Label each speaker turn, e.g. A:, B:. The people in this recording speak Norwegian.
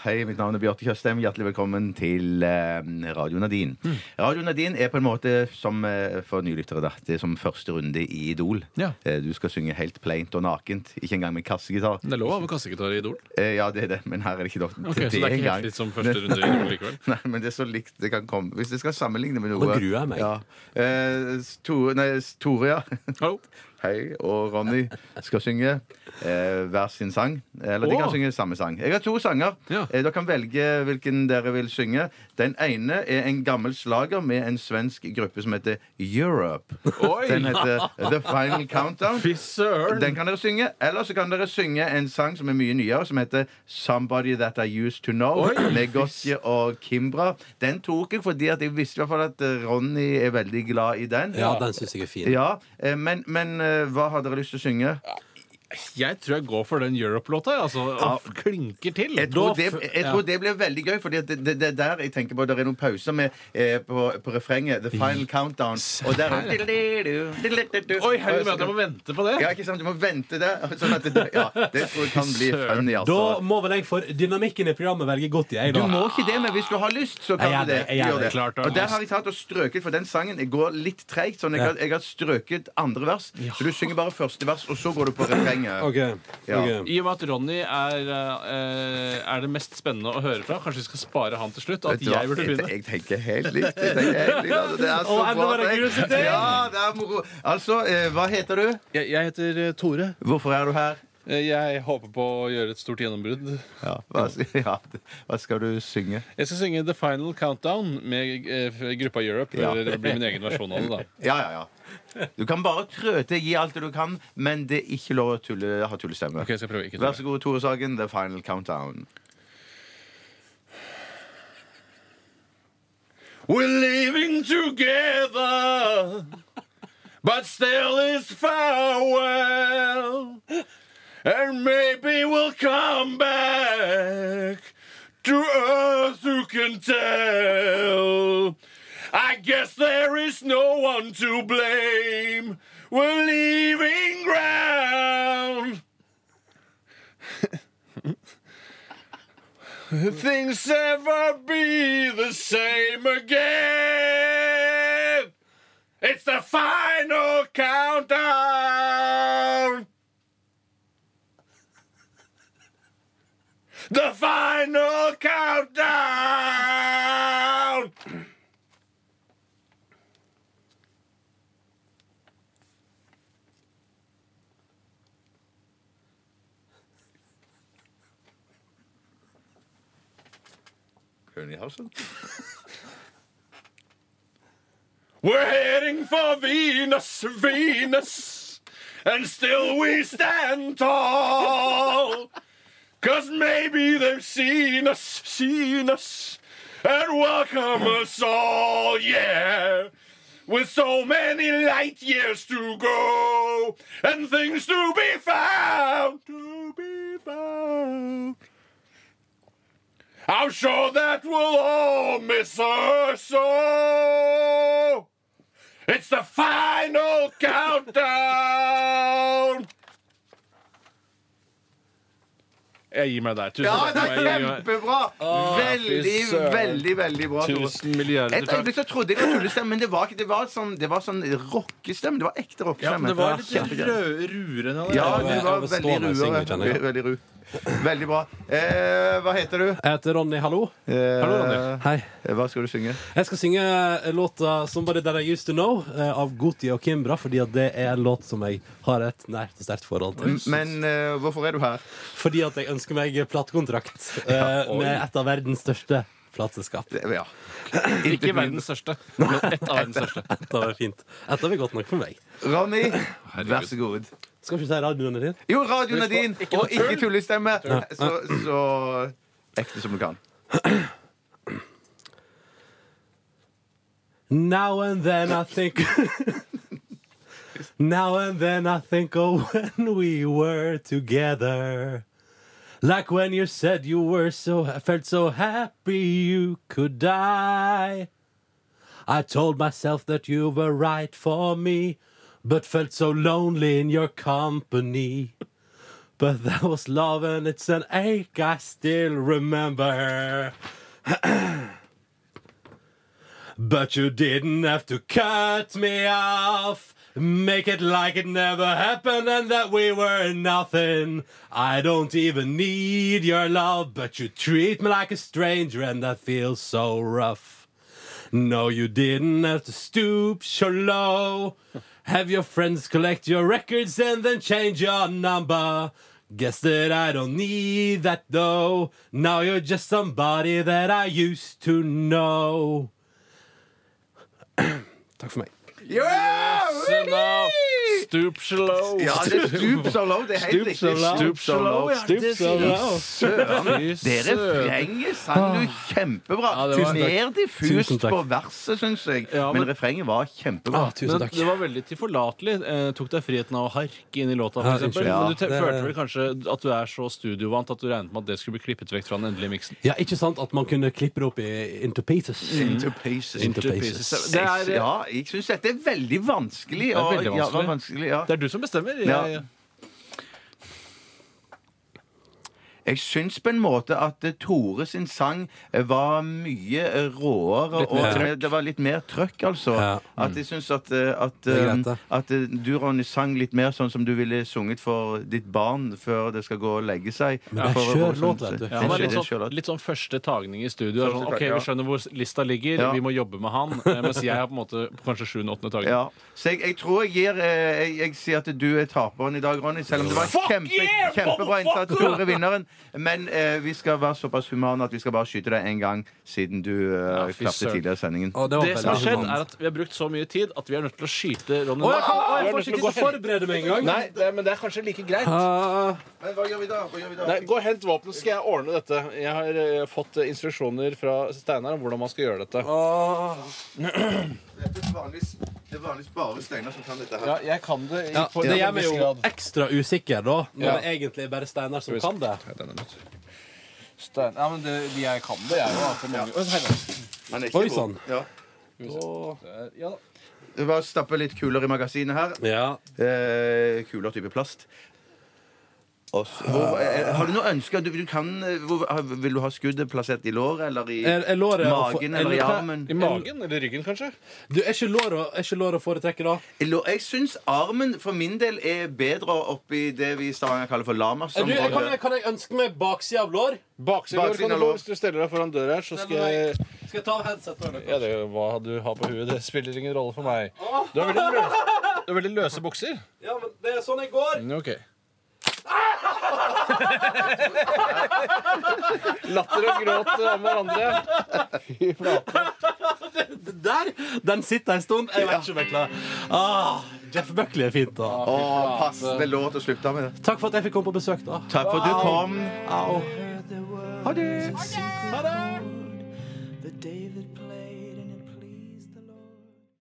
A: Hei, mitt navn er Bjarte Tjøstheim. Hjertelig velkommen til eh, Radio Nadine.
B: Mm.
A: Radio Nadine er på en måte, som eh, for nylyttere, da, det er som første runde i Idol.
B: Ja.
A: Eh, du skal synge helt plaint og nakent, ikke engang med kassegitar.
B: Det er lov å ha med kassegitar i Idol.
A: Eh, ja, det er det, men her er det ikke nok
B: Ok, så det er ikke helt likt som første runde i Idol likevel?
A: Nei, men det er så likt det kan komme. Hvis det skal sammenligne med noe
C: Nå gruer jeg meg.
A: Ja. Eh, Tore, nei, Tore, ja.
B: Hallo.
A: Hei og Ronny skal synge eh, hver sin sang. Eller de kan
B: Åh.
A: synge samme sang. Jeg har to sanger.
B: Ja.
A: Eh, dere kan velge hvilken dere vil synge. Den ene er en gammel slager med en svensk gruppe som heter Europe.
B: Oi!
A: Den heter The Final Countdown.
B: Fy søren!
A: Den kan dere synge. Eller så kan dere synge en sang som er mye nyere, som heter Somebody That I Used To Know,
B: Oi!
A: med Gotje og Kimbra. Den tok jeg fordi at jeg visste i hvert fall at eh, Ronny er veldig glad i den.
C: Ja, den syns jeg er fin.
A: Ja, eh, men, men eh, hva har dere lyst til å synge?
B: Jeg tror jeg går for den Europe-låta. jeg, Altså, og klinker til.
A: Jeg tror,
B: Da-
A: det, jeg tror det blir veldig gøy, for det, det, det er der jeg tenker på det er noen pauser med, eh, på, på refrenget. The Final Countdown. Og der
B: Oi, herregud, jeg må vente på det.
A: Ja, ikke sant? Du må vente der. Sånn at det, ja, det tror jeg kan bli funny,
C: Da
A: altså.
C: må vel jeg for dynamikken i programmet velge godt i, jeg,
A: Du
C: da.
A: må ikke det, men hvis du har lyst, så kan
C: Jeg gjør
A: du det.
C: det, jeg gjør
A: Du gjør
C: det.
B: Klart du har
A: Og der
B: lyst.
A: har jeg tatt og strøket, for den sangen går litt treigt. Sånn jeg, har- jeg har strøket andre vers, så du synger bare første vers, og så går du på refrenget.
C: Ok,
A: Ja.
C: ok.
B: I og med at Ronny er, eh, er det mest spennende å høre fra, kanskje vi skal spare han til slutt? og At
A: Vet du hva?
B: jeg burde begynne?
A: Jeg, jeg tenker helt likt. Jeg tenker helt likt. Altså, det er så
C: Å,
A: bra.
C: enda mer
A: tenkt.
C: kuriositet!
A: Ja, det er moro. Altså, eh, hva heter du?
D: Jeg, heter eh, Tore. Eh,
A: Hvorfor er du her?
D: Jeg håper på å gjøre et stort gjennombrudd.
A: Ja, hva, ja, hva skal du synge?
D: Jeg skal synge The Final Countdown med eh, gruppa Europe.
A: Ja.
D: Eller det blir min egen versjon av det, da.
A: Ja, ja, ja. Du kan bare trøte, gi alt det du kan, men det er ikke lov å tulle, ha tullestemme.
D: Ok, jeg skal prøve ikke
A: Vær så god, Tore Sagen, The Final Countdown.
D: We're living together, but still it's farewell. And maybe we'll come back to earth who can tell. I guess there is no one to blame. We're leaving ground. Things never be the same again. It's the final countdown. The final countdown.
A: Høne i halsen?
D: We're heading for Venus, Venus, and still we stand tall. Cause maybe they've seen us, seen us, and welcome us all, yeah. With so many light years to go, and things to be found, to be found. I'm sure that we'll all miss her so. It's the final countdown. Jeg gir meg der. Tusen
A: Ja, det
B: takk.
A: er
B: Jeg gir meg.
A: kjempebra! Veldig,
D: fy søren.
A: veldig, veldig bra. Tore.
D: Tusen
A: Et
D: milliarder takk.
A: øyeblikk så trodde jeg det var tullestemme, men det var ikke det. var sånn, det var sånn rockestemme. Det var ekte
B: Ja,
A: rockestemme.
B: men det var
A: Ja,
B: litt
A: kjempegøy.
B: rø- rurende.
A: Ja,
B: Ja.
A: du
C: Jeg
A: var
C: overstår
A: veldig
C: meg,
A: ruere.
C: Sigrid, kjenner jeg.
A: Veldig, ru. veldig bra. Eh, hva heter du?
C: Jeg heter Ronny, hallo.
A: Hallo,
C: Hei.
A: Hva skal du synge?
C: Jeg skal synge eh, låta 'Somebody That I Used To Know' eh, av Goti og Kimbra, fordi at det er en låt som jeg har et nært og sterkt forhold til.
A: Men eh, hvorfor er du her?
C: Fordi at jeg ønsker meg platekontrakt eh, med et av verdens største plateselskap.
A: Det- Ja.
B: Ikke verdens største, men ett av verdens største.
C: Dette var fint. Dette var godt nok for meg.
A: Ronny, vær så god.
C: Skal ikke du si radioen din?
A: Jo, radioen er din, og ikke tullestemme. Så, så ekte som du kan.
C: Now and then I think Now and then I think of when we were together Like when you said you were so felt so happy you could die I told myself that you were right for me but felt so lonely in your company But that was love, and it's an ache I still remember. but you didn't have to cut me off. Make it like it never happened and that we were nothing. I don't even need your love, but you treat me like a stranger and I feel so rough. No, you didn't have to stoop so low. Have your friends collect your records and then change your number. Guess that I don't need that though. Now you're just somebody that I used to know. Takk for meg.
B: Sinna, Stoop slow.
A: Ja, det er stup so low. Det er helt
B: Stoop so
A: riktig.
B: low.
A: Stoop so low. ja,
B: Stoop
A: det
B: so
A: sier
B: low.
A: søren.
B: Fy
A: Dere
B: søren.
A: refrenget sang du kjempebra.
B: Ja, det var-
A: Mer
C: Tusen
A: diffust
C: takk.
A: på verset, syns jeg.
B: Ja,
A: men...
B: men-
A: refrenget var kjempebra.
C: Ah, tusen
B: Men Det var veldig tilforlatelig. Eh, tok deg friheten av å harke inn i låta,
C: Ja,
B: for eksempel.
C: unnskyld.
A: Ja,
B: Men du te
C: det-
B: følte vel kanskje at du er så studiovant at du regnet med at det skulle bli klippet vekk fra den endelige miksen.
C: Ja, ikke sant at man kunne klippe det opp i into pieces.
B: Mm.
A: Into pieces.
C: Into
B: Two
C: pieces.
B: pieces. Det er,
A: ja, jeg syns dette er veldig vanskelig.
B: er
A: og-
B: veldig
A: ja, det var
B: vanskelig.
A: vanskelig ja.
B: det er du som bestemmer. Jeg,
A: Ja. Jeg syns på en måte at eh, Tore sin sang eh, var mye eh, råere.
B: mer
A: og
B: trøkk.
A: Det var litt mer trøkk, altså.
C: Ja.
A: At jeg syns at, eh, at,
C: er
A: eh,
C: greit, det.
A: at eh, du, Ronny, sang litt mer sånn som du ville sunget for ditt barn før det skal gå og legge seg.
C: Men det er
A: For-
C: skjør
A: for-
C: låt, vet du.
B: Ja,
A: Det
B: han
A: er skjør-
B: var litt,
A: det er
B: sånn,
A: skjør låt.
B: litt sånn første tagning i studio. er Sånn,
A: Første
B: ok,
A: tag, ja.
B: Vi skjønner hvor lista ligger,
A: Ja.
B: vi må jobbe med han. eh, Mens jeg er på en måte på kanskje sjuende-åttende tagning.
A: Ja. Så jeg, jeg tror jeg gir eh, jeg, jeg sier at du er taperen i dag, Ronny. Selv om det var kjempe, kjempebra innsats. Tore er vinneren. Men eh, vi skal være såpass humane at vi skal bare skyte deg én gang, siden du eh,
B: fy
A: klappet
B: søren.
A: tidligere i sendingen.
C: Å,
B: Det som har
C: Ah, veldig
B: skjedd,
C: humant.
B: er at vi har brukt så mye tid at vi er nødt til å skyte Ronny.
C: Å,
B: nå.
C: jeg, kan, å,
B: Vi
C: jeg
B: er nødt
C: får
B: til å
C: ikke
B: gå
C: tid til å forberede meg engang.
B: Nei, det, men det er kanskje like greit.
C: Ah,
A: Men hva gjør vi da? Hva gjør vi da?
B: Nei, Gå og hent våpen, så skal jeg ordne dette. Jeg har eh, fått eh, instruksjoner fra Steinar om hvordan man skal gjøre dette.
C: ah.
A: Det er vanligvis, det er vanligvis bare Steinar som kan dette her.
B: Ja, jeg kan det. i-
C: Ja,
B: på
C: det
B: en
C: gjør meg
B: viss
C: jo
B: grad.
C: ekstra usikker, da, når
B: Ja.
C: det egentlig er bare Steinar som
B: vi-
C: kan det.
B: Nei, den er nødt. Stein... Ja, men det, jeg kan det, jeg er jo. da, for mange- Oi, herregud.
A: Han er
C: Oi,
A: god.
B: sånn.
C: sann.
A: Ja.
B: Skal vi se. Der, Ja, da.
A: Vi Bare stappe litt kuler i magasinet her.
C: Ja.
A: Eh, kuler type plast. Og så- hvor,
C: Ah.
A: eh, har du noe ønske? Du, du kan, eh, hvor, har- vil du ha skuddet plassert i låret eller i
C: Er, er låret å få-
A: magen
C: er
A: eller i
C: låret-
A: armen?
B: I magen eller ryggen, kanskje?
C: Du, er ikke låret å- er ikke låret å foretrekke, da?
A: I lå- Jeg syns armen for min del er bedre oppi det vi i Stavanger kaller for
C: Du, jeg kan,
A: lamersområdet.
C: jeg, kan jeg ønske meg baksida av lår?
B: Baksiden av
A: Baksiden
B: lår kan
A: av
B: du få
A: lår.
B: hvis du steller deg foran døra her, så skal jeg
C: Skal jeg ta av headsetet? eller?
B: Ja, det, hva du har på huet, det spiller ingen rolle for meg. Du har veldig løse, du har veldig løse bukser.
C: Ja, men det er sånn jeg går.
B: Mm, Ok. Latter og gråt om hverandre. Fy flate.
C: Det Der! Den sitter en stund. Jeg vet ikke om jeg klarer ah, Jeff Buckley er fint, da.
A: Å, passende låt å slutte med. det.
C: Takk for at jeg fikk komme på besøk, da.
A: Takk for at du kom.
C: Au.
A: Ha det.
E: The David played.